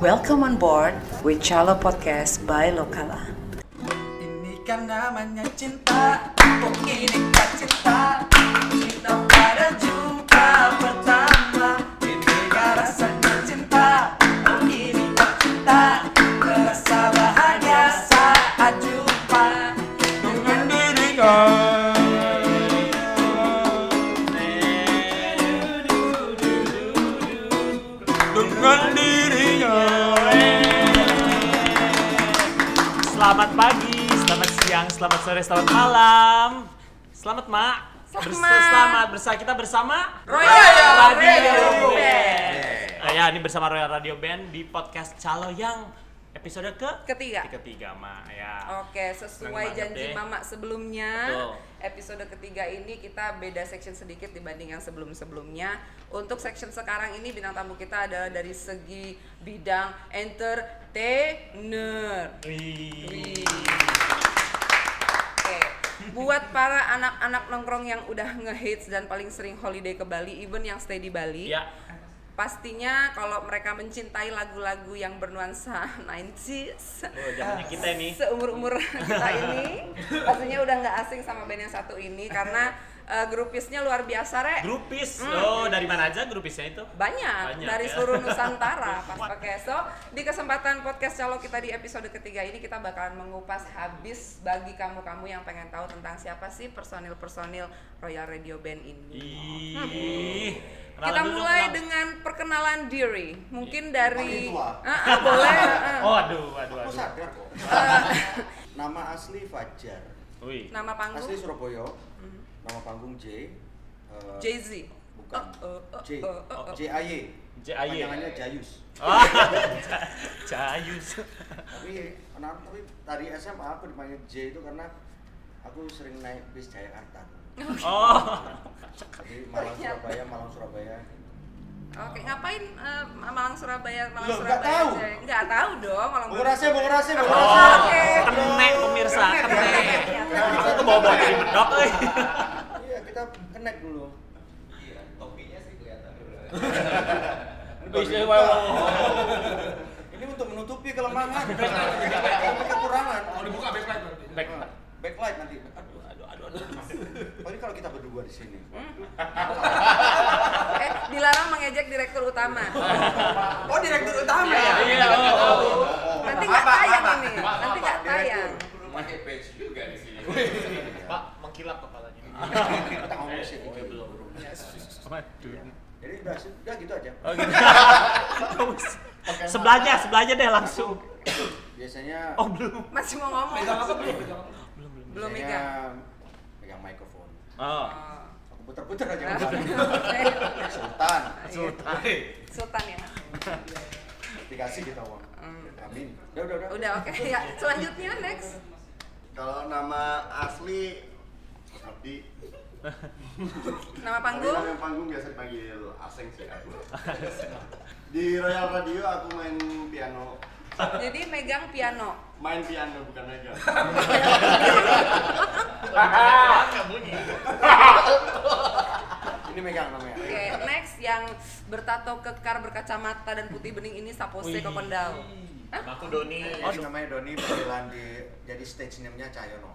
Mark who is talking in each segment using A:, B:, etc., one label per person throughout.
A: Welcome on board with Chalo Podcast by Lokala.
B: Ini kan namanya cinta Oh ini kan cinta Kita pada jumpa pertama Ini kan rasanya cinta Oh ini kan cinta Terasa bahagia saat jumpa Dengan diri kau Dengan dirinya
C: Selamat pagi, selamat siang, selamat sore, selamat malam. Selamat Mak. Selamat. selamat bersama kita bersama
B: Royal Radio Band.
C: Eh, ya, ini bersama Royal Radio Band di podcast Calo yang episode ke
D: Ketiga.
C: Ketiga, Mak. Ya.
D: Oke, sesuai
C: Senang banget
D: janji
C: deh.
D: Mama sebelumnya,
C: Betul.
D: episode ketiga ini kita beda section sedikit dibanding yang sebelum-sebelumnya. Untuk section sekarang ini bintang tamu kita adalah dari segi bidang entertainer.
C: Wih.
D: Oke, buat para anak-anak nongkrong yang udah ngehits dan paling sering holiday ke Bali, even yang stay di Bali,
C: Ya.
D: pastinya kalau mereka mencintai lagu-lagu yang bernuansa 90s,
C: Oh, zamannya kita ini.
D: seumur umur kita ini pastinya udah nggak asing sama band yang satu ini karena eh, grupisnya luar biasa re
C: Grupis. Oh, dari mana aja grupisnya itu?
D: banyak,
C: Banyak,
D: dari
C: ya.
D: seluruh Nusantara pas pakai so di kesempatan podcast calo kita di episode ketiga ini kita bakalan mengupas habis bagi kamu-kamu yang pengen tahu tentang siapa sih personil-personil Royal Radio Band ini
C: Ih. Iya. Kenalan
D: kita
C: dulu,
D: mulai
C: kenalan. Iya.
D: dengan perkenalan diri mungkin dari
E: tua.
D: Ah, ah, boleh ah, ah.
C: Oh, aduh, aduh,
E: Aku
C: aduh.
E: sadar kok. Nama asli Fajar.
C: Wih.
D: nama
E: Asli
D: panggung
E: Surabaya.
D: Mm-hmm.
E: Nama panggung J. eh,
D: Jay-Z
E: Bukan.
D: Oh, oh, oh,
E: J.
D: oh, oh, oh.
E: J A Y.
C: J.A.Y..
E: Panjangannya Jayus.
C: Ah, Ja- Jayus.
E: Tapi anak tapi dari SMA aku dipanggil J itu karena aku sering naik bis Jayakarta.
C: Oh.
E: Jadi Malang
D: Ternyata.
E: Surabaya, Malang Surabaya.
D: Oke, ngapain eh, Malang Surabaya Malang
E: Loh, nggak
D: Surabaya?
E: tahu.
D: aja? Nggak tahu dong Malang.
E: Bung Rase, Bung Rase, Bung Iya.
D: Oh,
E: Rase.
D: oke.
C: Kene pemirsa, kene. Kita tuh bawa bawa jadi bedok euy.
E: Iya, kita connect dulu.
F: Iya,
C: Wis,
E: Iya, topinya sih
C: eh, wow.
E: kelihatan. Ini untuk menutupi kelemahan, menutupi kekurangan. Kalau dibuka
C: Back.
E: backlight nanti. Aduh,
C: Aduh, aduh, aduh. Hmm.
E: Paling kalau kita berdua di sini.
D: Eh, dilarang mengejek direktur utama.
B: Oh direktur utama ya?
C: Iya, oh.
D: Nanti nggak tayang ini. Nanti nggak tayang.
F: pakai badge juga di sini.
E: Pak,
F: mengkilap kepalanya.
E: kita ngomong
C: Oh, iya.
E: sih. Oke, belum. Jadi udah, udah gitu aja.
C: Oh, gitu. Terus. Sebelahnya, sebelahnya deh langsung.
E: Biasanya
C: Oh, belum.
D: Masih mau ngomong. Belum
E: biasanya
D: megang.
E: pegang mikrofon.
C: Oh.
D: Oh.
E: Aku puter-puter aja.
D: Ah, oke.
E: Sultan,
D: Sultan. Sultan ya.
E: dikasih kita uang. Amin. Udah, udah, udah.
D: Hmm. Udah oke ya. Selanjutnya next.
G: Kalau nama asli Abdi,
D: Nama
G: tapi nama
D: panggung
G: yang panggung biasa dipanggil Aseng sih aku. Di Royal Radio aku main piano,
D: jadi megang piano.
G: main piano bukan megang.
E: Ini megang namanya.
D: Oke, next yang bertato kekar berkacamata dan putih bening ini Sapose
C: Wih.
D: Kokondau.
F: Aku Doni.
E: Jadi namanya Doni panggilan di jadi stage name-nya Ah, Cahyono.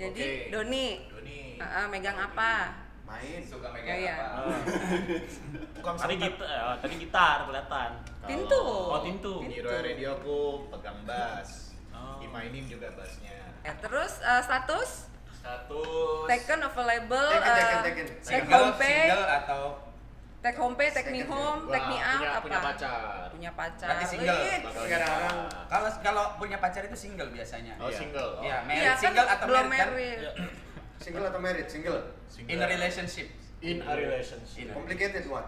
D: Jadi
F: Oke.
D: Doni,
F: Doni.
D: Ah, ah, megang apa?
E: Main.
F: Suka
D: Oh,
F: megang
D: iya.
F: apa?
E: Tukang
C: Tadi
E: serutan.
C: gitar, oh, tadi gitar kelihatan.
D: Pintu.
C: Oh, pintu.
F: Di Royal Radio aku pegang bass.
C: Oh.
F: Dimainin juga bassnya.
D: Eh, terus eh, status
F: Satu.
D: taken available
E: Taken, taken,
D: eh,
E: taken.
D: take home pay,
F: atau
D: take home pay, take me
E: Second,
D: home, take me out
F: punya,
D: apa?
F: punya pacar.
D: Punya pacar.
B: Berarti single.
D: Wih, Iya,
G: Bakal
B: Sekarang
G: nikah.
E: Iya.
B: kalau kalau punya pacar itu single biasanya.
G: Oh single. Oh.
B: Iya, married
D: Iya kan
B: single atau
D: belum
B: married, kan?
D: married.
E: Single atau married? Single.
F: Single.
B: In a relationship.
G: In a relationship.
B: In a-
E: Complicated one.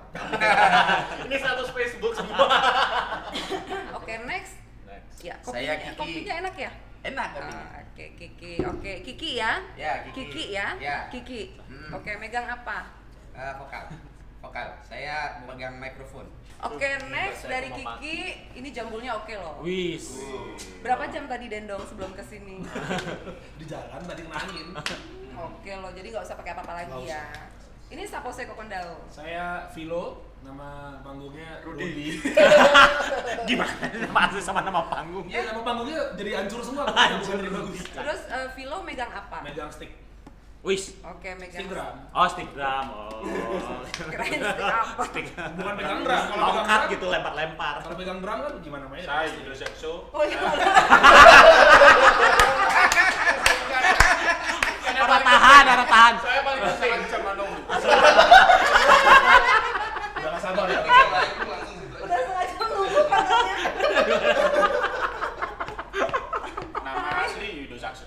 F: Ini status Facebook semua.
D: Oke next.
F: Next.
D: Ya,
B: Saya
D: kopinya,
B: Kiki.
D: kopinya enak ya?
B: Enak
D: Ah,
B: kan? kopinya.
D: Oke Kiki, oke Kiki ya.
B: Ya, Kiki.
D: ya.
B: Ya.
D: Kiki.
B: Hmm.
D: Oke megang apa?
B: Eh, vokal. Vokal. Saya memegang mikrofon.
D: Oke next
C: bahasa
D: dari
C: aku mama.
D: Kiki, ini jambulnya oke loh.
C: Wis.
D: Berapa jam tadi dendong sebelum kesini?
B: Di jalan tadi kena angin.
D: Oke loh, jadi nggak usah pakai apa-apa lagi ya. Ini Sapose Kokondao.
H: Saya Vilo, Nama panggungnya Rudy.
C: Gimana? Masih sama nama panggung.
H: Iya, nama panggungnya jadi hancur semua. Bukan dari bagus.
D: Terus
C: Nah.
D: eh, Vilo megang apa?
H: Megang stick.
C: Wis.
D: Oke, megang
H: Stick drum.
C: Oh, stick drum. Oh.
D: Kirain stick apa?
C: Stick.
H: Bukan pegang drum. Kalau pegang
C: Tongkat
H: drum
C: gitu lempar-lempar.
H: Kalau pegang drum kan gimana mainnya?
F: Saya Indonesia Show.
D: Oh iya.
C: Ada tahan, ada tahan.
F: Saya paling penting. Saya dong.
H: Udah gak sabar ya.
D: Udah sengaja nunggu katanya.
F: Nama asli Yudo Saxo.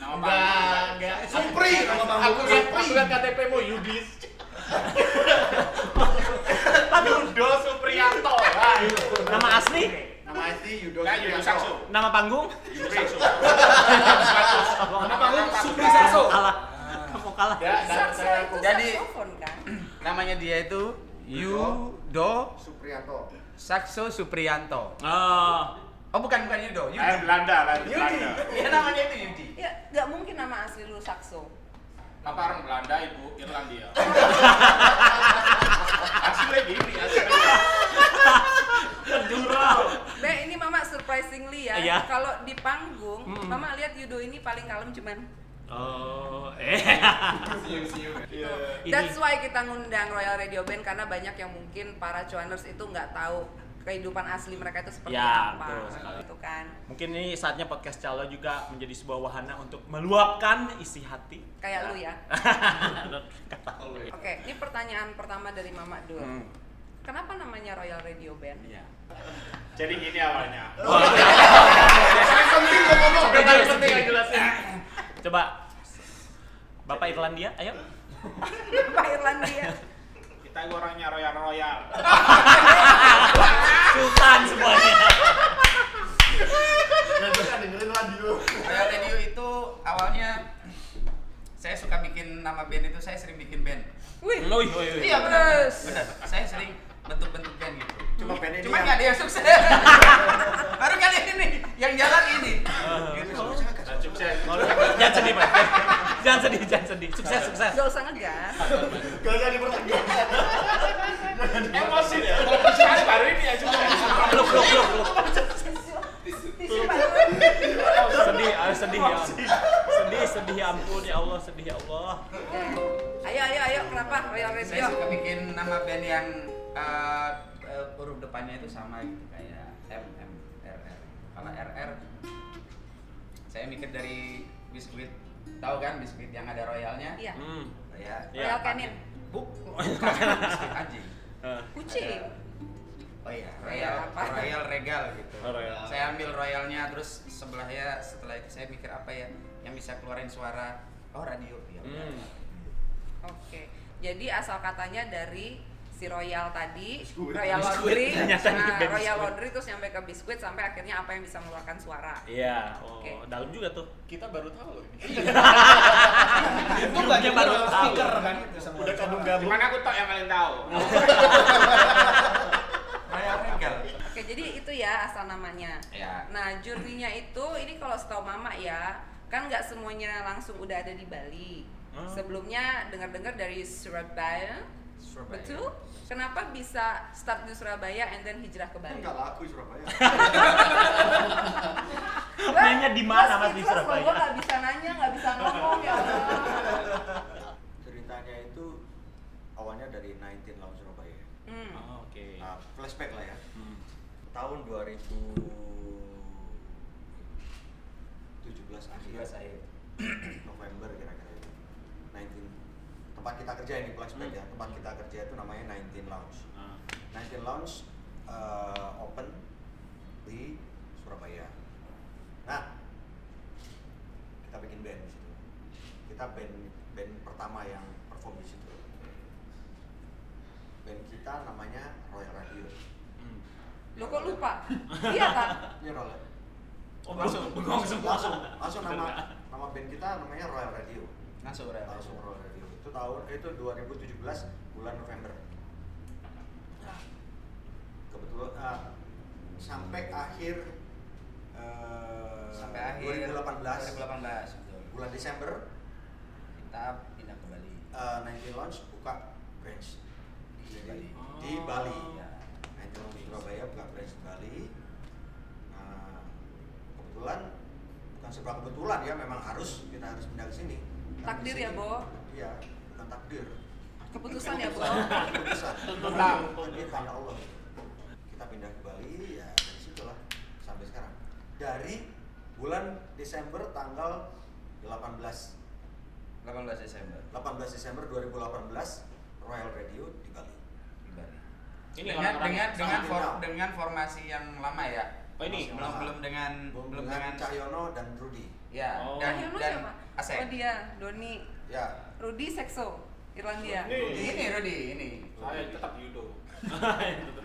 F: Nama
H: Enggak,
F: panggung.
H: enggak.
F: Supri. Aku lihat aku lihat KTP mu Yudis. Yudo Supriyanto. Ah, itu.
C: Nama asli?
G: Nama asli Yudo.
F: Nah, Yudo Saxo.
C: Nama panggung?
F: Yudo Saxo.
H: Nama panggung Supri Saxo.
C: Kalah. Kamu kalah.
F: Ya, dan
D: Saxo
F: saya
D: itu
B: Jadi-
D: saxophone kan?
B: Namanya dia itu
F: Oh.
B: Yudo
G: Supriyanto.
B: Saxo Supriyanto.
C: Oh.
B: Oh bukan bukan Yudo,
F: Saya
B: Yudi.
F: Eh, Belanda lah,
B: Yudi.
F: Belanda.
B: Ya namanya itu Yudi.
D: Ya, nggak mungkin nama asli lu saxo.
F: Apa orang Belanda, Ibu Irlandia. Aslinya gini, aslinya.
D: Be, ini Mama surprisingly ya.
C: Iya.
D: Kalau di panggung,
C: Mm-mm.
D: Mama lihat Yudo ini paling kalem cuman
C: Oh. Eh.
F: Siung-siung. Iya.
C: Ini.
D: That's why kita ngundang Royal Radio Band karena banyak yang mungkin para cuaners itu nggak tahu kehidupan asli mereka itu seperti
C: Ya,
D: apa.
C: betul sekali.
D: Gitu kan.
C: Mungkin ini saatnya podcast Calo juga menjadi sebuah wahana untuk meluapkan isi hati.
D: Kayak lu ya.
C: Kata lu. ya. Hmm.
D: Oke, ini pertanyaan pertama dari Mama Dul. Kenapa namanya Royal Radio Band?
C: Iya.
F: Jadi gini awalnya.
C: Coba
F: Yang
C: jelasin.
F: penting yang jelasin.
C: Coba. Bapak Irlandia, ayo.
D: Pak Irlandia.
F: Kita orangnya royal royal.
C: Sultan semuanya.
G: Dan bisa kan dengerin radio.
B: Royal Radio itu awalnya saya suka bikin nama band itu saya sering bikin band.
D: Wih.
C: Wih, wih, wih.
B: Iya benar.
D: Terus.
B: Benar. Saya sering bentuk-bentuk band gitu.
E: Cuma band ini
B: Cuma
E: yang-
B: nggak ada yang sukses. Baru kali ini yang jalan ini. Gitu.
F: Dan sukses.
C: Jangan sedih, Pak. Jangan sedih, jangan sedih. Sukses, sukses.
D: Gak usah ngegas.
G: Gak usah dipertegas.
F: Emosi deh. Kalau sukses baru ini ya sukses.
C: Peluk, peluk, peluk, peluk.
D: Tisu banget.
C: Sedih, ah, sedih ya. Sedih, sedih ya ampun ya Allah, sedih ya Allah.
D: Oke. Iya. Ayo, ayo, ayo. Kenapa Royal
B: Saya
D: Radio?
B: suka bikin nama band yang eh, eh, huruf depannya itu sama gitu kayak M M R R. Kalau R R saya mikir dari biskuit. Tahu kan biskuit yang ada royalnya?
D: Iya.
C: Hmm.
B: Ya.
D: Royal Canin.
B: Buk. Bukan biskuit anjing.
C: Eh,
D: Kucing.
B: Oh iya,
D: Royal
B: Royal,
D: apa?
B: Royal Regal gitu.
C: Oh, Royal.
B: Saya ambil Royalnya terus sebelahnya setelah itu saya mikir apa ya yang bisa keluarin suara oh radio ya. udah.
C: Hmm.
D: Oke. Jadi asal katanya dari si Royal tadi,
G: Biskuit.
D: Royal
C: Biskuit.
D: Laundry,
C: Ternyata ini
D: nah,
C: band
D: Royal
C: biskuit.
D: Laundry terus nyampe ke biskuit sampai akhirnya apa yang bisa mengeluarkan suara.
C: Iya, oh,
D: Oke.
C: dalam juga tuh.
F: Kita baru tahu loh ini.
C: Hidupnya baru
F: Iya.
C: tahu.
H: kan.
G: Udah kadung gabung.
F: Cuman aku tak yang paling tahu.
B: Royal Regal.
D: Oke, jadi itu ya asal namanya.
B: Ya.
D: Nah, jurinya itu ini kalau setahu Mama ya, kan nggak semuanya langsung udah ada di Bali.
C: Hmm.
D: Sebelumnya dengar-dengar dari Surabaya,
B: Surabaya.
D: betul? Kenapa bisa start di Surabaya and then hijrah ke Bali?
G: Enggak laku Surabaya.
D: Wah,
C: Nanya di mana,
D: gua
C: Mas, di
D: speechless loh,
C: Surabaya?
D: Gua nggak bisa nanya, nggak bisa ngomong ya. Allah.
E: Ceritanya itu awalnya dari 19 Lounge Surabaya.
D: Hmm.
C: Oh, Oke.
E: Nah, flashback lah ya.
C: Hmm.
E: Tahun 2017
B: Juga
E: akhir.
B: saya.
E: November kira-kira itu. 19 tempat kita kerja ini flashback ya. Tempat kita kerja itu namanya 19 Lounge.
C: Ah.
E: 19 Lounge eh, open di Surabaya. Nah, kita bikin band di situ. Kita band band pertama yang perform di situ. Band kita namanya Royal Radio.
C: Hmm.
D: Lo kok lupa? Iya kan?
E: Ini Royal.
C: Oh, langsung bengong semua.
E: Langsung, langsung nama nama band kita namanya Royal Radio.
B: Langsung Royal.
E: Langsung Royal Radio. Itu tahun eh, itu 2017 bulan November. Nah, kebetulan ah, sampai akhir eh,
B: Sampai akhir
E: 2018
B: 2018 betul.
E: bulan Desember
B: Kita pindah ke Bali.
E: eh, 19 Lounge buka branch di
B: Bali.
E: Di Bali.
B: Iya.
E: Nah, kebetulan ya memang harus kita harus pindah ke sini. Karena
D: Takdir
E: di
D: ya,
E: sini-
D: Bo?
E: Iya, bukan takdir.
D: Keputusan ya, Bu.
E: Keputusan.
F: Tuntutan.
E: Tuntutan Allah. Kita pindah ke Bali ya dari situlah sampai sekarang. Dari bulan Desember tanggal 18
B: 18 Desember
E: 18 Desember 2018 Royal Radio di Bali.
B: di Bali.
F: Ini
B: dengan
F: orang-orang
B: dengan
F: sama
B: dengan, for-
E: final.
B: dengan formasi yang lama ya.
F: Oh, ini?
B: belum belum dengan belum dengan
E: Cahyono dan Rudi.
B: ya
F: Oh.
B: dan
D: Cahyono
B: dan
D: siapa?
B: Asep.
D: Oh dia, Doni,
E: Ya,
D: Rudi Sekso, Irlandia.
H: Rudi.
B: Ini Rudi ini.
F: Saya Iya, tetap Yudo.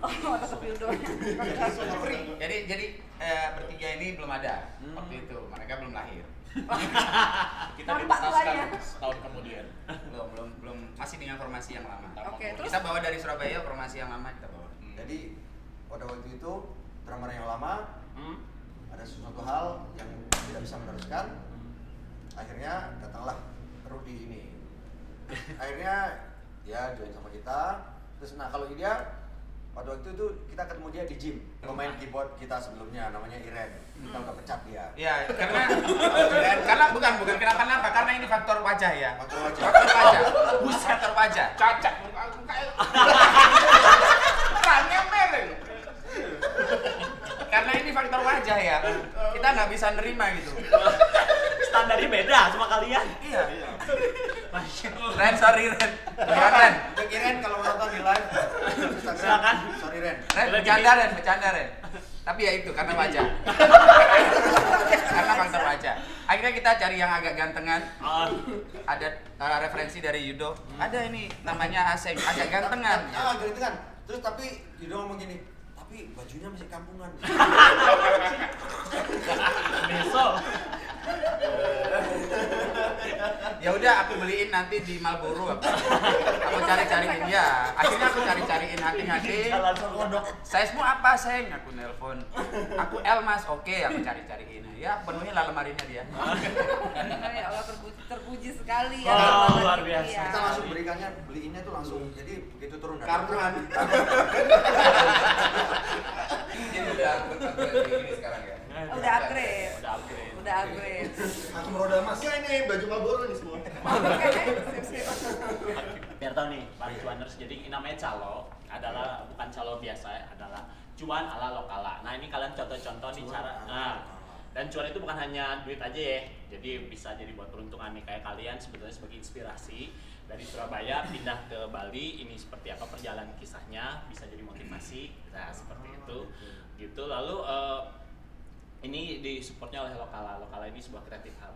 D: Oh, atas Wildonya.
B: Jadi jadi eh, bertiga ini belum ada waktu itu mereka belum lahir
F: Kita
D: Nampak tuanya.
F: dituntaskan setahun kemudian.
B: belum belum belum masih dengan formasi yang lama.
D: Oke, terus
B: Kita bawa dari Surabaya formasi yang lama kita bawa.
E: jadi pada waktu itu drummer yang lama
F: Hmm?
E: ada sesuatu hal yang tidak bisa meneruskan akhirnya datanglah Rudi ini akhirnya dia join sama kita terus nah kalau dia pada waktu itu kita ketemu dia di gym pemain keyboard kita sebelumnya namanya Iren kita udah pecat dia
B: Ya, karena karena bukan bukan kenapa-napa karena ini faktor wajah ya.
E: Faktor wajah.
B: Faktor wajah. Buset faktor wajah.
F: Cacat muka ya. aku kayak
B: Orangnya mereng. Karena ini faktor wajah ya. Kita nggak bisa nerima gitu.
C: Hmm? Standarnya beda sama kalian.
B: Iya. Ren, sorry Ren. Jangan Ren.
E: untuk Iren kalau nonton di live Instagram,
C: Silakan.
E: sorry Ren
B: Ren, bercanda Ren, bercanda Ren. Tapi ya itu karena wajah. karena faktor wajah. Akhirnya kita cari yang agak gantengan.
C: Oh,
B: Ada eh, referensi dari Yudo. Ada ini namanya Asep, agak gantengan.
E: ah ah, gantengan terus tapi Yudo ngomong gini tapi bajunya masih kampungan
C: besok.
B: ya udah aku beliin nanti di Malboro aku, aku cari-cariin ya akhirnya aku cari-cariin hati-hati
C: Jalan kodok.
B: size-mu apa sayang aku nelpon aku L mas oke aku cari-cariin ya penuhin lah lemarinya dia
D: ya Allah terpuji, terpuji sekali ya.
C: Oh,
D: Selamat
C: luar
D: ya.
C: biasa.
E: kita langsung berikannya beliinnya tuh langsung jadi begitu turun dari
B: Karungan. jadi udah aku ini sekarang ya
D: Udah upgrade.
C: Udah upgrade.
D: Udah upgrade.
E: aku roda mas
G: Enggak Iya, ini baju Marlboro nih semua.
D: Oke, sip, sip.
C: Biar tahu nih, para cuaners. Jadi ini namanya calo adalah bukan calo biasa, adalah cuan ala lokala. Nah ini kalian contoh-contoh nih
E: Cuan
C: cara.
E: ala
C: Nah,
E: lokala.
C: dan cuan itu bukan hanya duit aja ya. Jadi bisa jadi buat peruntungan nih kayak kalian sebetulnya sebagai inspirasi dari Surabaya pindah ke Bali. Ini seperti apa perjalanan kisahnya bisa jadi motivasi. Nah seperti itu, gitu. Lalu eh, ini disupportnya oleh lokala. Lokala ini sebuah kreatif hub.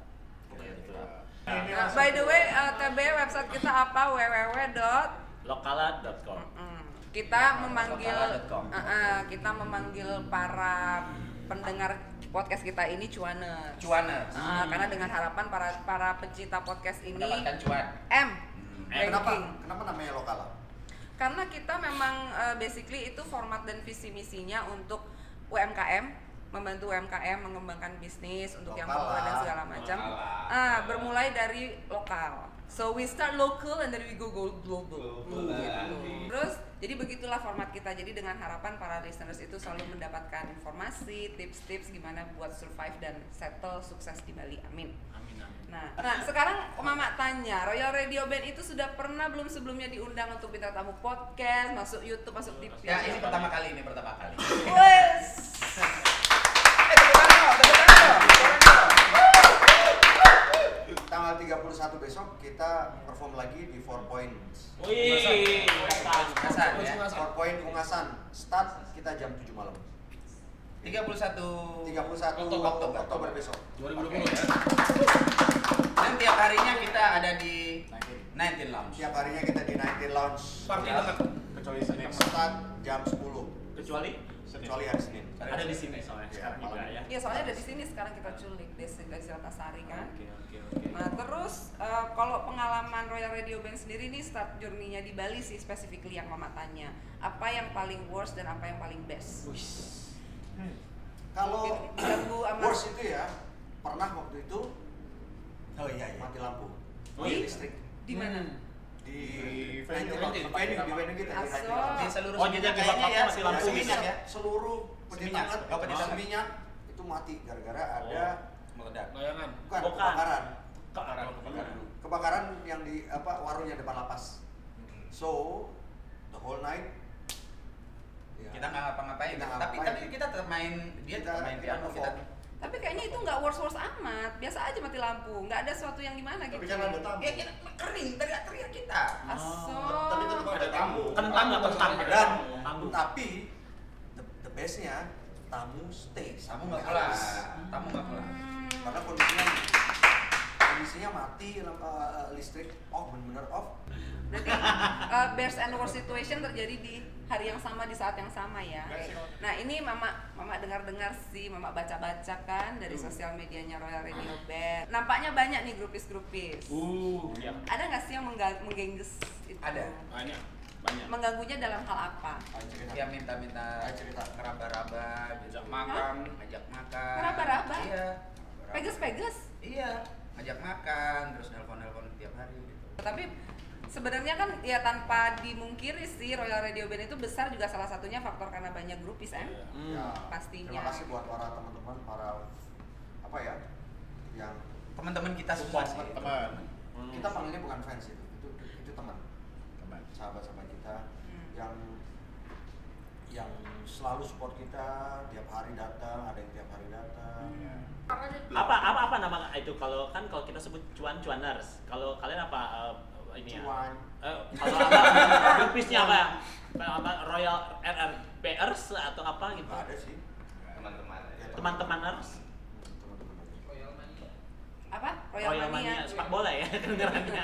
C: Gitu.
D: Nah, by the way, eh, TB website kita apa? www.
C: Lokala.com.
D: Mm, Kita memanggil
B: Lokala.com.
D: eh, eh, kita memanggil para pendengar podcast kita ini cuaners.
B: cuaners
D: Ah, karena dengan harapan para para pencinta podcast ini
B: mendapatkan cuan
D: M
C: Eh,
E: kenapa
D: ranking.
E: kenapa namanya lokal
D: Karena kita memang eh, basically itu format dan visi misinya untuk UMKM membantu UMKM mengembangkan bisnis untuk yang
E: Lokal
D: perempuan dan
E: lah.
D: segala macam.
B: Lokal
D: Ah, bermulai dari lokal. So we start local and then we go go global. Gitu. Terus jadi begitulah format kita. Jadi dengan harapan para listeners itu selalu mendapatkan informasi, tips-tips gimana buat survive dan settle sukses di Bali. Amin.
C: Amin amin.
D: Nah, nah sekarang Mama tanya, Royal Radio Band itu sudah pernah belum sebelumnya diundang untuk bintang tamu podcast, masuk YouTube, masuk TV?
B: ya ini pertama kali ini pertama kali
D: Wes.
B: eh tepuk tangan dong, tepuk tangan dong.
E: tanggal 31 besok kita perform lagi di Four Points
C: Wih,
B: Kesan, ya.
E: Four Point Ungasan start kita jam 7 malam
B: 31
E: 31
B: Oktober.
E: Oh. Oktober, Oktober besok
F: 2020 ya.
B: Dan tiap harinya kita ada di 19 Lounge.
E: tiap harinya kita di 19 Lounge
H: Party banget.
F: Kecuali Senin.
E: start jam 10
C: Kecuali
E: kecuali hari Senin
C: ada di sini soalnya
E: Iya,
C: sekarang juga
E: malam.
C: ya.
D: Iya soalnya dari sini sekarang kita culik Desi Desi Ratnasari kan.
C: Oke oke oke.
D: Nah terus eh, kalau pengalaman Royal Radio Band sendiri nih start journey-nya di Bali sih specifically yang Mama tanya. Apa yang paling worst dan apa yang paling best?
C: Wih.
E: kalau
D: Ganggu sama-
E: worst itu ya pernah waktu itu oh iya, mati lampu
C: Oh,
E: Mati
C: iya.
E: listrik
D: Di mana?
B: Hmm.
E: di
F: Di
E: venue
F: venue.
E: di venue di venue kita di
D: Aso.
E: 19 Lounge.
B: Di seluruh
C: Oh, jadi
B: dunia
C: akibat
B: kayaknya
C: apa masih
E: Ya,
C: lampu
E: seminyak
B: seminyak ya.
E: seluruh
B: Seminyak.
E: penyintangan
B: Oh, penyintangan.
E: minyak itu mati gara-gara ada
B: meledak
H: Layangan.
E: Bukan,
C: Bukan.
E: kebakaran.
B: kebakaran
H: Kebakaran.
B: kebakaran
E: Kebakaran yang di apa warungnya depan lapas.
B: Hmm.
E: So, the whole night ya,
B: kita nggak ngapa-ngapain
E: Kita nggak
B: tapi
E: ngapain.
B: tapi kita tetap main dia tetap main piano kita
E: perform.
D: Tapi kayaknya itu nggak worse-worse amat. Biasa aja mati lampu. Nggak ada sesuatu yang gimana gitu.
G: Tapi kan ada tamu.
B: ya kita kering teriak-teriak kita
D: Aso.
G: Oh, Tapi tetap ada tamu.
C: Kentang nggak kentang?
E: Dan
C: Tamu.
E: tapi the, the bestnya tamu stay sampai
B: tamu nggak pulang
E: habis.
B: tamu nggak pulang
D: Hmm.
E: Karena kondisinya kondisinya mati eh, listrik off bener-bener off.
D: Berarti uh, best and worst situation terjadi di hari yang sama di saat yang sama ya.
F: Enggak sih.
D: Nah ini mama mama dengar-dengar sih, mama baca-baca kan dari sosial medianya Royal Radio Band. Nampaknya banyak nih grupis-grupis.
C: Uh, iya.
D: Ada nggak sih yang mengga- menggengges itu?
B: Ada.
F: Banyak.
C: Banyak.
D: Mengganggunya dalam hal apa?
E: Ayo cerita.
B: dia minta-minta cerita ngeraba-raba ajak makan ajak makan
D: Ngeraba-raba?
B: iya
D: Pegas-pegas.
B: iya ajak makan terus nelpon-nelpon tiap hari gitu
D: Tapi sebenarnya kan ya tanpa dimungkiri sih Royal Radio Band itu besar juga salah satunya faktor karena banyak grupis kan.
E: Ya,
D: Pastinya.
E: Terima kasih buat para teman-teman, para apa ya yang
B: Hmm. teman-teman kita semua sih itu.
F: Teman.
E: kita panggilnya bukan fans itu, itu itu teman,
B: Teman.
E: sahabat-sahabat kita
D: Hmm.
E: yang yang selalu support kita tiap hari datang, ada yang tiap hari datang.
D: Hmm.
C: Apa apa apa nama itu kalau kan kalau kita sebut cuan cuaners. Kalau kalian apa eh, ini ya?
E: Cuan.
C: Eh, kalau apa grupisnya apa? ya? apa Royal RRBers atau apa gitu?
E: Nggak ada sih.
G: Teman-teman.
E: Ya,
C: Teman-temaners?
E: Teman-teman.
D: Apa? Royal,
C: Royal
D: Mania.
C: Mania, sepak bola ya kedengarannya.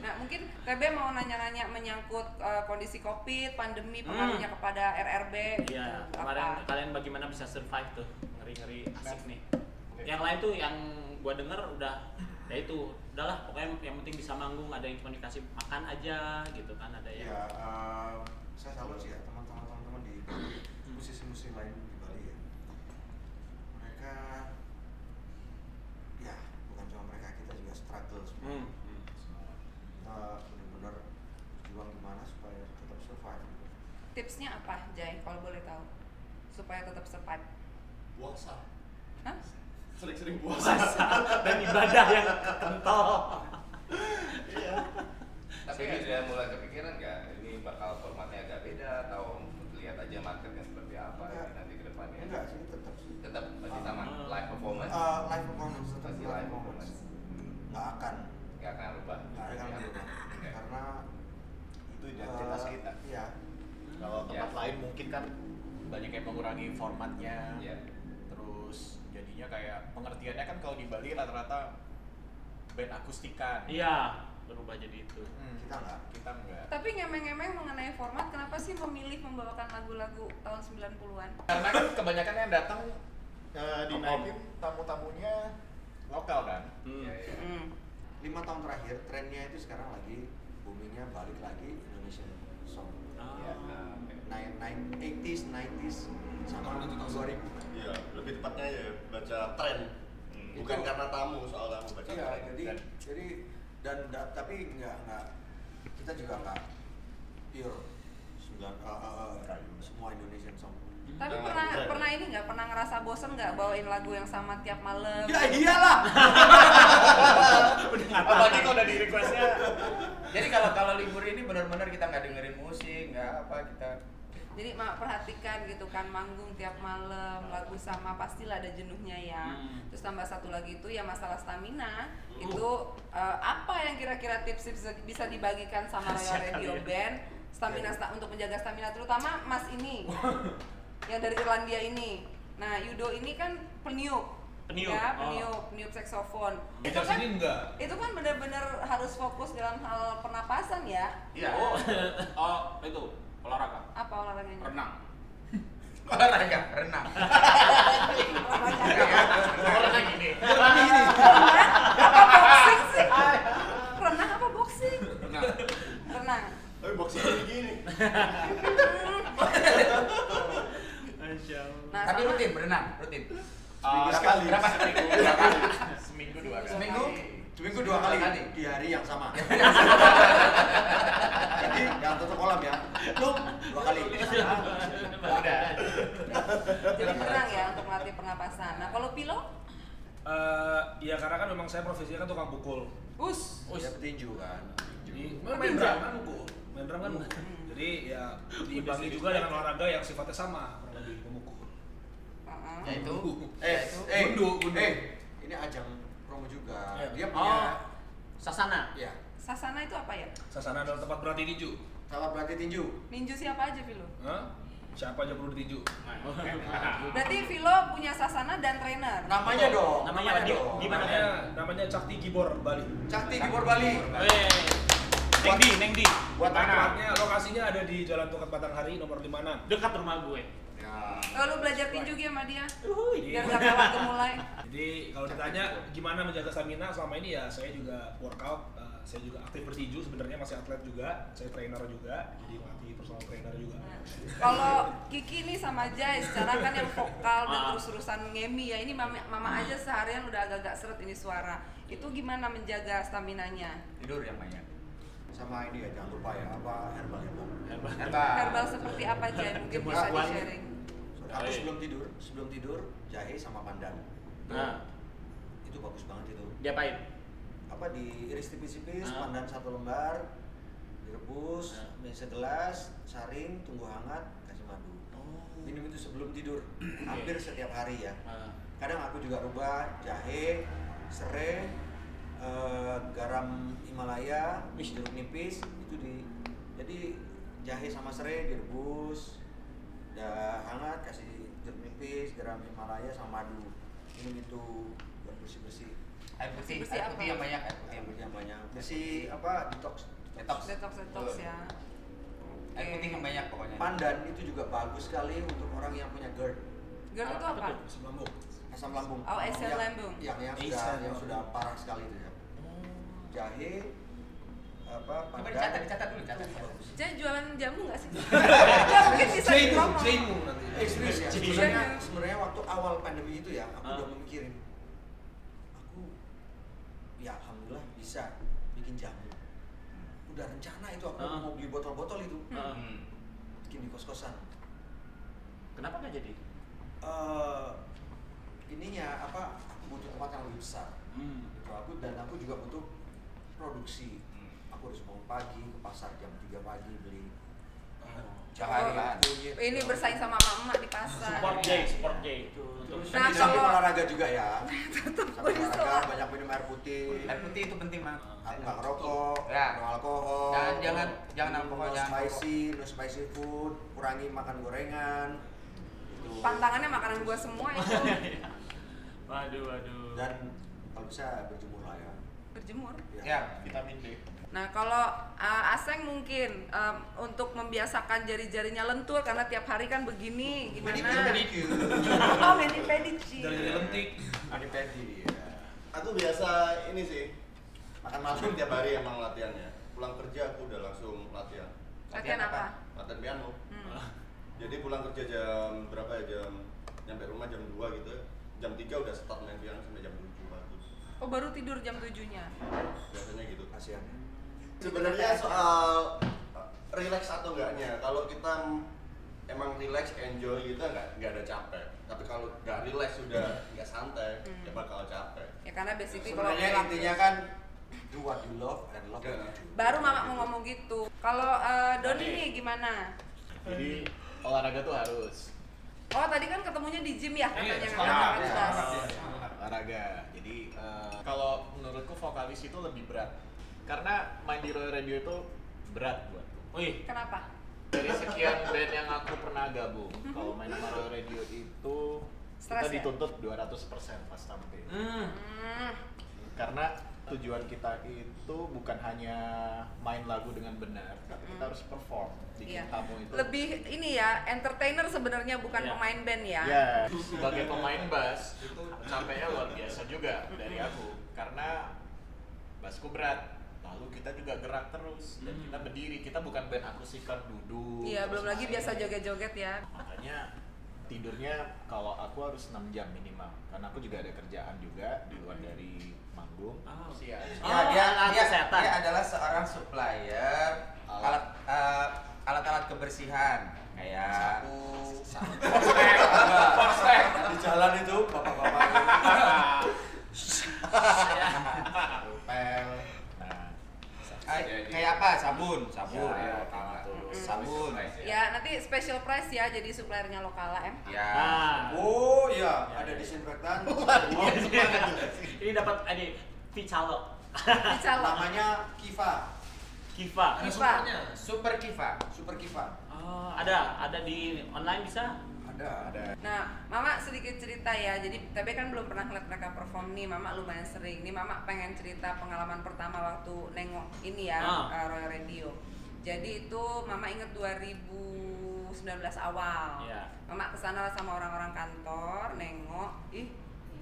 D: Nah, mungkin TB mau nanya-nanya menyangkut eh, kondisi Covid, pandemi,
C: Hmm.
D: pengaruhnya kepada RRB.
C: Iya,
D: gitu,
C: kemarin
D: apa.
C: kalian bagaimana bisa survive tuh? Ngeri-ngeri asik nih. Yang lain tuh yang gua denger udah ya itu udahlah pokoknya yang penting bisa manggung ada yang cuma dikasih makan aja gitu kan ada yang
E: Ya, eh, saya salut sih ya teman-teman teman-teman di Bali, musisi-musisi lain di Bali ya. Mereka, ya bukan cuma mereka kita juga struggle semua.
C: Hmm, hmm.
E: Kita benar-benar berjuang gimana supaya tetap survive. gitu.
D: Tipsnya apa, Jai, kalau boleh tahu? Supaya tetap survive.
G: Puasa.
D: Hah?
G: Sering-sering puasa.
C: puasa hmm. dan ibadah yang kental.
G: Iya.
I: Tapi ini sudah mulai kepikiran nggak ini bakal formatnya agak beda atau lihat aja marketnya seperti apa
E: Enggak.
I: ini nanti ke depannya.
E: Ya Enggak sih tetap sih.
I: Tetap masih sama live performance.
E: Eh, live performance tetap
I: Masih
E: live
I: live
E: performance. Iya.
I: performance.
E: Nggak akan,
I: Nggak akan rubah.
E: nggak akan berubah.
I: Oke.
E: Karena
F: Itu
E: eh, Iya,
F: Kalau tempat
I: Ya.
F: lain mungkin kan banyak yang mengurangi formatnya.
I: Iya.
F: Terus jadinya kayak pengertiannya kan kalau di Bali rata-rata band akustikan. Hmm,
C: Iya, berubah jadi itu.
E: kita nggak.
F: Kita enggak.
D: Tapi ngemeng-ngemeng mengenai format, kenapa sih memilih membawakan lagu-lagu tahun 90-an?
F: Karena kan kebanyakan yang datang eh, di
C: Om-om.
F: Naikin tamu-tamunya lokal kan.
C: Hmm.
I: Iya, iya.
A: Mm.
E: lima tahun terakhir trennya itu sekarang lagi boomingnya balik lagi Indonesian song
C: Ah.
I: Iya, nah, oke.
E: naik naik 80s 90s sama 2000
G: Iya, lebih tepatnya ya baca tren.
F: Hmm.
G: Bukan
E: Itu.
G: karena tamu soalnya aku baca
E: iya
G: tren.
E: jadi
G: Dan-
E: jadi dan da- tapi nggak nggak kita juga nggak pure sembilan eh, eh, eh, semua Indonesian song
D: Tapi
G: Nah,
D: pernah
G: bukan.
D: pernah ini nggak pernah ngerasa bosen nggak bawain lagu yang sama tiap malam?
E: ya iyalah
C: Udah nggak tahan.
F: Apalagi kalau udah di requestnya
B: jadi kalau kalau libur ini benar-benar kita nggak dengerin musik nggak apa kita
D: Jadi mak perhatikan gitu kan manggung tiap malam lagu sama pastilah ada jenuhnya ya.
C: Hmm. Uh.
D: Terus tambah satu lagi itu ya masalah stamina. Itu eh, apa yang kira-kira tips-tips bisa dibagikan sama Royal
C: Siap
D: Radio
C: kali ya.
D: Band stamina sta- untuk menjaga stamina terutama Mas ini yang dari Irlandia ini. Nah Yudo ini kan peniup,
C: Peniup,
D: ya
C: oh. Hmm.
D: peniup, peniup saksofon. Itu
H: Kita
D: kan,
H: sini enggak.
D: itu kan benar-benar harus fokus dalam hal pernapasan ya.
F: Iya.
C: Oh.
F: Oh, itu olahraga.
D: Apa olahraganya?
F: Renang.
B: olahraga renang
D: Olahraga.
F: Renang gini.
D: apa boxing sih? Renang apa boxing?
F: Renang.
D: Renang.
G: Tapi boxing gini gini.
C: Masya Allah.
D: Nah,
B: tapi
D: sama-
B: rutin berenang rutin
F: Seminggu sekali. Ah, Berapa seminggu? Dua kali. Seminggu dua kali.
B: seminggu
E: seminggu dua kali di hari yang sama jadi jangan tutup kolam ya lu dua kali
F: Udah.
D: Jadi renang ya untuk melatih pernapasan. Nah, kalau pilo
H: Eh, ya karena kan memang saya profesinya kan tukang pukul.
D: Us.
H: Us.
E: Dia petinju kan.
H: Jadi main, main drum kan pukul. Main drum kan pukul. Jadi ya diimbangi juga dengan olahraga yang sifatnya sama kurang lebih memukul.
D: Uh-uh.
B: Yaitu
E: Eh,
B: yaitu
E: eh,
H: Gundu, gundu.
E: eh, ini ajang promo juga.
H: Iya.
E: Dia punya,
C: Oh, sasana.
E: ya,
D: Sasana itu apa ya?
H: Sasana adalah tempat berlatih tinju.
E: kalau berarti tinju.
D: Ninju siapa aja Vilo?
H: Hah? Siapa aja perlu tinju?
D: Berarti Vilo punya sasana dan trainer.
E: Namanya dong.
C: Namanya apa? Di- di mana?
H: Namanya, namanya Cakti Gibor Bali.
E: Cakti Gibor Bali.
C: Weh. Neng di, neng di.
H: Buat tempatnya lokasinya ada di Jalan Tukat Batanghari nomor 56.
C: Dekat rumah gue.
E: Ya.
D: Lalu belajar tinju gitu sama dia
H: Jadi-
D: biar gak kalah gemulai.
H: Jadi kalau ditanya gimana menjaga stamina selama ini ya saya juga workout, eh, saya juga aktif bertinju sebenarnya masih atlet juga, saya trainer juga, jadi pelatih personal trainer juga.
D: Nah, Kalau Kiki nih sama Jai secara kan yang vokal dan
C: Ah.
D: terus-terusan ngemi ya ini mama, mama aja seharian udah agak-agak seret ini suara. Itu gimana menjaga stamina-nya?
B: tidur yang banyak.
E: Sama ini ya, jangan lupa ya, apa herbal herbal.
B: Herbal.
D: Herbal seperti apa Jai? Mungkin bisa
E: Jemuran.
D: di-sharing.
E: Aku
C: Jahe.
E: sebelum tidur, sebelum tidur jahe sama pandan.
C: Nah,
E: Itu bagus banget itu.
C: diapain?
E: Apa diiris tipis-tipis,
C: Ah.
E: pandan satu lembar, direbus,
C: Ah.
E: mie segelas, saring, tunggu hangat, kasih madu. Minum itu sebelum tidur, hampir setiap hari ya.
C: Ah.
E: kadang aku juga rubah jahe serai eh, garam Himalaya jeruk nipis itu di jadi jahe sama serai direbus udah hangat kasih jeruk nipis garam Himalaya sama madu minum itu buat bersih bersih
B: Air putih,
D: Bersih
B: air
D: apa?
B: putih yang Iya, banyak, air putih
E: yang
B: yang banyak.
E: banyak bersih apa detox
B: Detox.
D: Detox-detox ya.
B: Air putih yang banyak pokoknya. Oh.
E: pandan itu juga bagus sekali untuk orang yang punya GERD
D: Girl itu apa?
H: Asam lambung.
E: asam lambung
D: Oh, asam
E: Yang-
D: lambung.
E: yang yang sudah
H: Asam
E: yang
H: lambung.
E: sudah parah sekali itu ya jahe apa
B: Coba
E: pandan.
B: dicatat, dicatat dulu, catat. catat.
D: Jai jualan jamu nggak sih? Nggak mungkin bisa di promo.
H: nanti.
E: Eh, serius ya,
C: Jadi-
E: sebenarnya
B: kan-
E: sebenarnya waktu awal pandemi itu ya, aku
C: Ah.
E: udah memikirin aku ya alhamdulillah bisa bikin jamu. Udah rencana itu aku
C: Ah.
E: mau beli botol-botol itu,
C: Ah.
B: Hmm.
E: bikin di kos-kosan.
C: Kenapa nggak jadi?
E: Eh ininya apa? Aku butuh tempat yang lebih besar.
C: Hmm.
E: Gitu. Aku dan aku juga butuh produksi.
B: Hmm.
E: Aku harus bangun pagi ke pasar jam 3 pagi beli
D: Oh,
B: Jahe kan.
E: kunyit.
D: Ini bersaing sama emak-emak di pasar.
C: Support Jay, support Jay.
E: Terus
D: Nah,
E: di samping
D: kalau-
E: olahraga juga ya. Sampai
D: gue
E: olahraga
D: salah.
E: banyak minum air putih.
B: Air putih itu penting banget.
E: aku nggak ngerokok,
B: Ya.
E: no alkohol,
B: Jangan- jangan- jangan
E: Oh. minum
B: alkohol,
E: no
B: jangan
E: spicy, no spicy food, kurangi makan gorengan, gitu.
D: Pantangannya makanan gua semua itu
C: Iya. Waduh, waduh.
E: dan kalau bisa berjemur lah ya.
D: berjemur.
B: Ya,
F: vitamin D.
D: Nah, kalau uh, Aseng mungkin um, untuk membiasakan jari-jarinya lentur karena tiap hari kan begini, gimana? Oh, mani
H: Dari
D: pedicure.
H: dari lentik.
E: Mani pedi iya. dia.
G: Aku biasa ini sih makan malam Kan tiap hari emang latihannya. Pulang kerja aku udah langsung latihan.
D: Latihan apa?
G: Latihan piano. Nah,
D: Hmm.
G: Jadi pulang kerja jam berapa ya jam nyampe rumah jam 2 gitu ya. Jam 3 udah start main piano sampai jam 7 pagi.
D: Oh, baru tidur jam 7-nya.
G: Biasanya gitu.
E: Kasihan.
G: Sebenarnya soal uh, relax atau enggaknya, kalau kita m- emang relax, enjoy gitu enggak enggak ada capek. Tapi kalau enggak relax sudah enggak santai, ya bakal capek.
D: Ya karena basically kalau
E: Sebenarnya
D: pulang-
E: intinya kan do what you love and love what you do.
D: baru mama mau ngomong gitu. Kalau uh, Doni nih gimana?
F: Jadi olahraga tuh harus
D: Oh, tadi kan ketemunya di gym ya
C: Iya,
D: katanya nggak
H: semangat,
D: sama kelas.
F: olahraga. Jadi eh, kalau menurutku vokalis itu lebih berat. Karena main di Royal Radio itu berat
H: ya.
F: buatku.
C: Wih,
D: Kenapa?
F: Dari sekian band yang aku pernah gabung, kalau main sama Royal Radio itu
D: Mhm. Stres ya?
F: kita dituntut 200% pas tampil.
D: Hmm.
F: karena tujuan kita itu bukan hanya main lagu dengan benar, tapi kita harus perform bikin
D: Mhm. Iya.
F: tamu itu.
D: Lebih ini ya, entertainer sebenarnya bukan
C: Iya.
D: pemain band ya.
F: Ya, sebagai pemain bass itu capeknya luar biasa juga dari aku karena bassku berat. Lalu kita juga gerak terus dan kita berdiri. Kita bukan band akustikan duduk.
D: Hmm. Iya,
F: terus
D: belum lagi
F: main.
D: biasa joget-joget ya.
F: Makanya tidurnya kalau aku harus 6 jam minimal karena aku juga ada kerjaan juga di
D: Hmm.
F: luar dari manggung.
C: Ah.
F: Terus ya,
B: Ya,
C: Oh,
B: dia,
C: alat
B: dia,
C: kesehatan.
B: dia adalah seorang supplier alat eh, alat-alat kebersihan
C: Ah.
B: kayak
E: Di jalan itu bapak-bapak
B: pel
F: Nah,
B: Eh, kayak apa sabun sabun
F: Ya,
B: ya,
F: kayak gitu.
B: sabun
D: Ya, nanti special price ya jadi suppliernya Lokala M.
B: ya
C: Nah,
E: Oh iya, ada disinfektan.
C: ini dapat ada Vicalo,
D: Bisa loh.
E: Namanya Kiva,
C: Kiva.
H: Ada
D: Kiva.
H: sumbernya.
B: super kiva
E: Super Kiva.
C: Oh, ada, ada di online bisa.
E: Ada. Ada.
D: Nah, Mama sedikit cerita ya. Jadi TB kan belum pernah ngeliat mereka perform nih. Mama lumayan sering. Nih Mama pengen cerita pengalaman pertama waktu nengok ini ya
C: Ah.
D: eh, Royal Radio. Jadi itu Mama inget 2019 awal.
C: Iya.
D: Mama kesana sama orang-orang kantor nengok. Ih,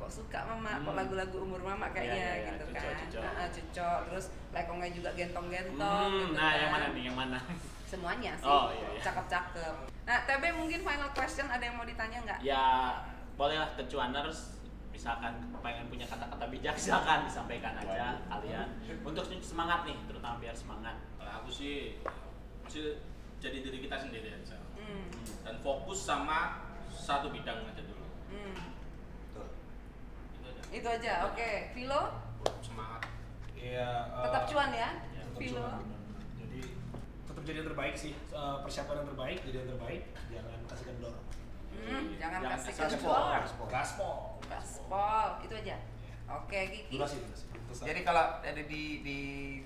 D: kok suka Mama? Kok
C: Hmm.
D: lagu-lagu umur Mama
C: Iya,
D: kayaknya
C: iya, iya.
D: gitu
C: Cocok,
D: kan?
C: cocok.
D: Heeh, cocok. Terus lekongnya juga gentong-gentong.
C: Hmm,
D: gitu
C: nah,
D: kan.
C: yang mana nih? Yang mana?
D: Semuanya sih.
C: Oh, iya, iya.
D: Cakep-cakep. Nah, TB mungkin final question ada yang mau ditanya nggak?
C: ya bolehlah ke cuaners misalkan pengen punya kata-kata bijak silakan disampaikan aja kalian untuk semangat nih terutama biar semangat
J: Kalau aku sih masih jadi diri kita sendiri aja
D: Hmm.
J: dan fokus sama satu bidang aja dulu.
D: Hmm,
E: Betul.
J: Itu aja.
D: itu aja. Oke, Vilo
J: Semangat.
H: Iya. eh,
D: tetap cuan ya.
H: tetap
D: Vilo.
H: cuan, benar. Jadi tetap jadi yang terbaik sih. Eh, persiapan yang terbaik, jadi yang terbaik. Jangan kasih kendor.
D: Hmm, jangan
J: Jangan
D: kasih
J: kasih
D: gaspol.
H: Gaspol.
D: Gaspol, itu aja. Oke, Kiki.
H: Durasi, durasi. Pesan.
B: jadi kalau ada di di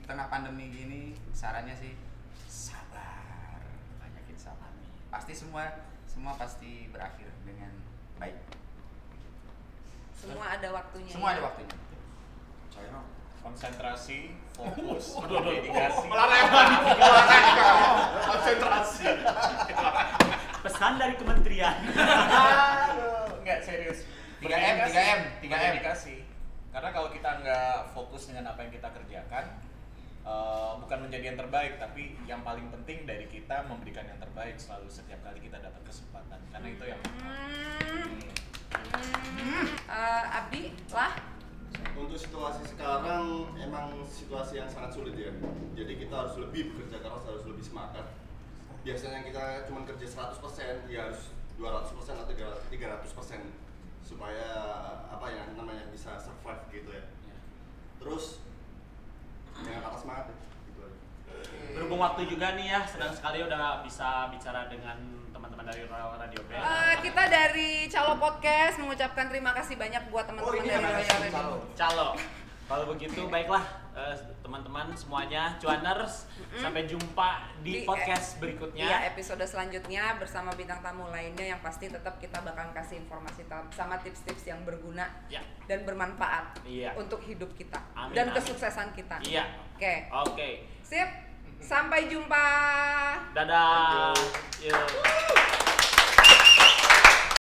B: tengah pandemi gini sarannya sih sabar banyakin sabar pasti semua semua pasti berakhir dengan baik
D: Semua ada waktunya. ya.
B: semua ada waktunya
E: Saya mah
F: konsentrasi, fokus, dedikasi.
D: ya,
F: konsentrasi.
C: pesan dari kementerian
F: Aduh, nggak serius.
B: 3M, 3M, 3M.
F: Berdedikasi. Karena kalau kita nggak fokus dengan apa yang kita kerjakan, eh, bukan menjadi yang terbaik, tapi yang paling penting dari kita memberikan yang terbaik selalu setiap kali kita dapat kesempatan. Karena itu yang
D: Hmm. Hmm. Eh, Abi, lah.
G: Untuk situasi sekarang emang situasi yang sangat sulit ya. Jadi kita harus lebih bekerja keras, harus lebih semangat. Biasanya kita cuma kerja 100%, ya harus 200% atau 300% supaya apa ya namanya bisa survive gitu ya. Terus jangan patah semangat ya, gitu aja.
C: berhubung waktu juga nih ya senang sekali udah bisa bicara dengan teman-teman dari Royal Radio Band
D: Eh, kita dari Calo Podcast mengucapkan terima kasih banyak buat
E: Oh,
D: teman-teman
E: ini
D: dari
E: yang
D: Royal
E: ada
D: Radio.
E: calo.
C: calo kalau begitu baiklah eh, teman-teman semuanya cuaners sampai jumpa di,
D: Di-
C: podcast berikutnya
D: Iya, episode selanjutnya bersama bintang tamu lainnya yang pasti tetap kita bakal kasih informasi ta- sama tips-tips yang berguna
C: Ya.
D: dan bermanfaat
C: Iya.
D: untuk hidup kita
C: Amin,
D: dan
C: amin.
D: kesuksesan kita.
C: iya
D: Oke.
C: oke
D: Sip. Sampai jumpa.
C: dadah Iya. Yuk.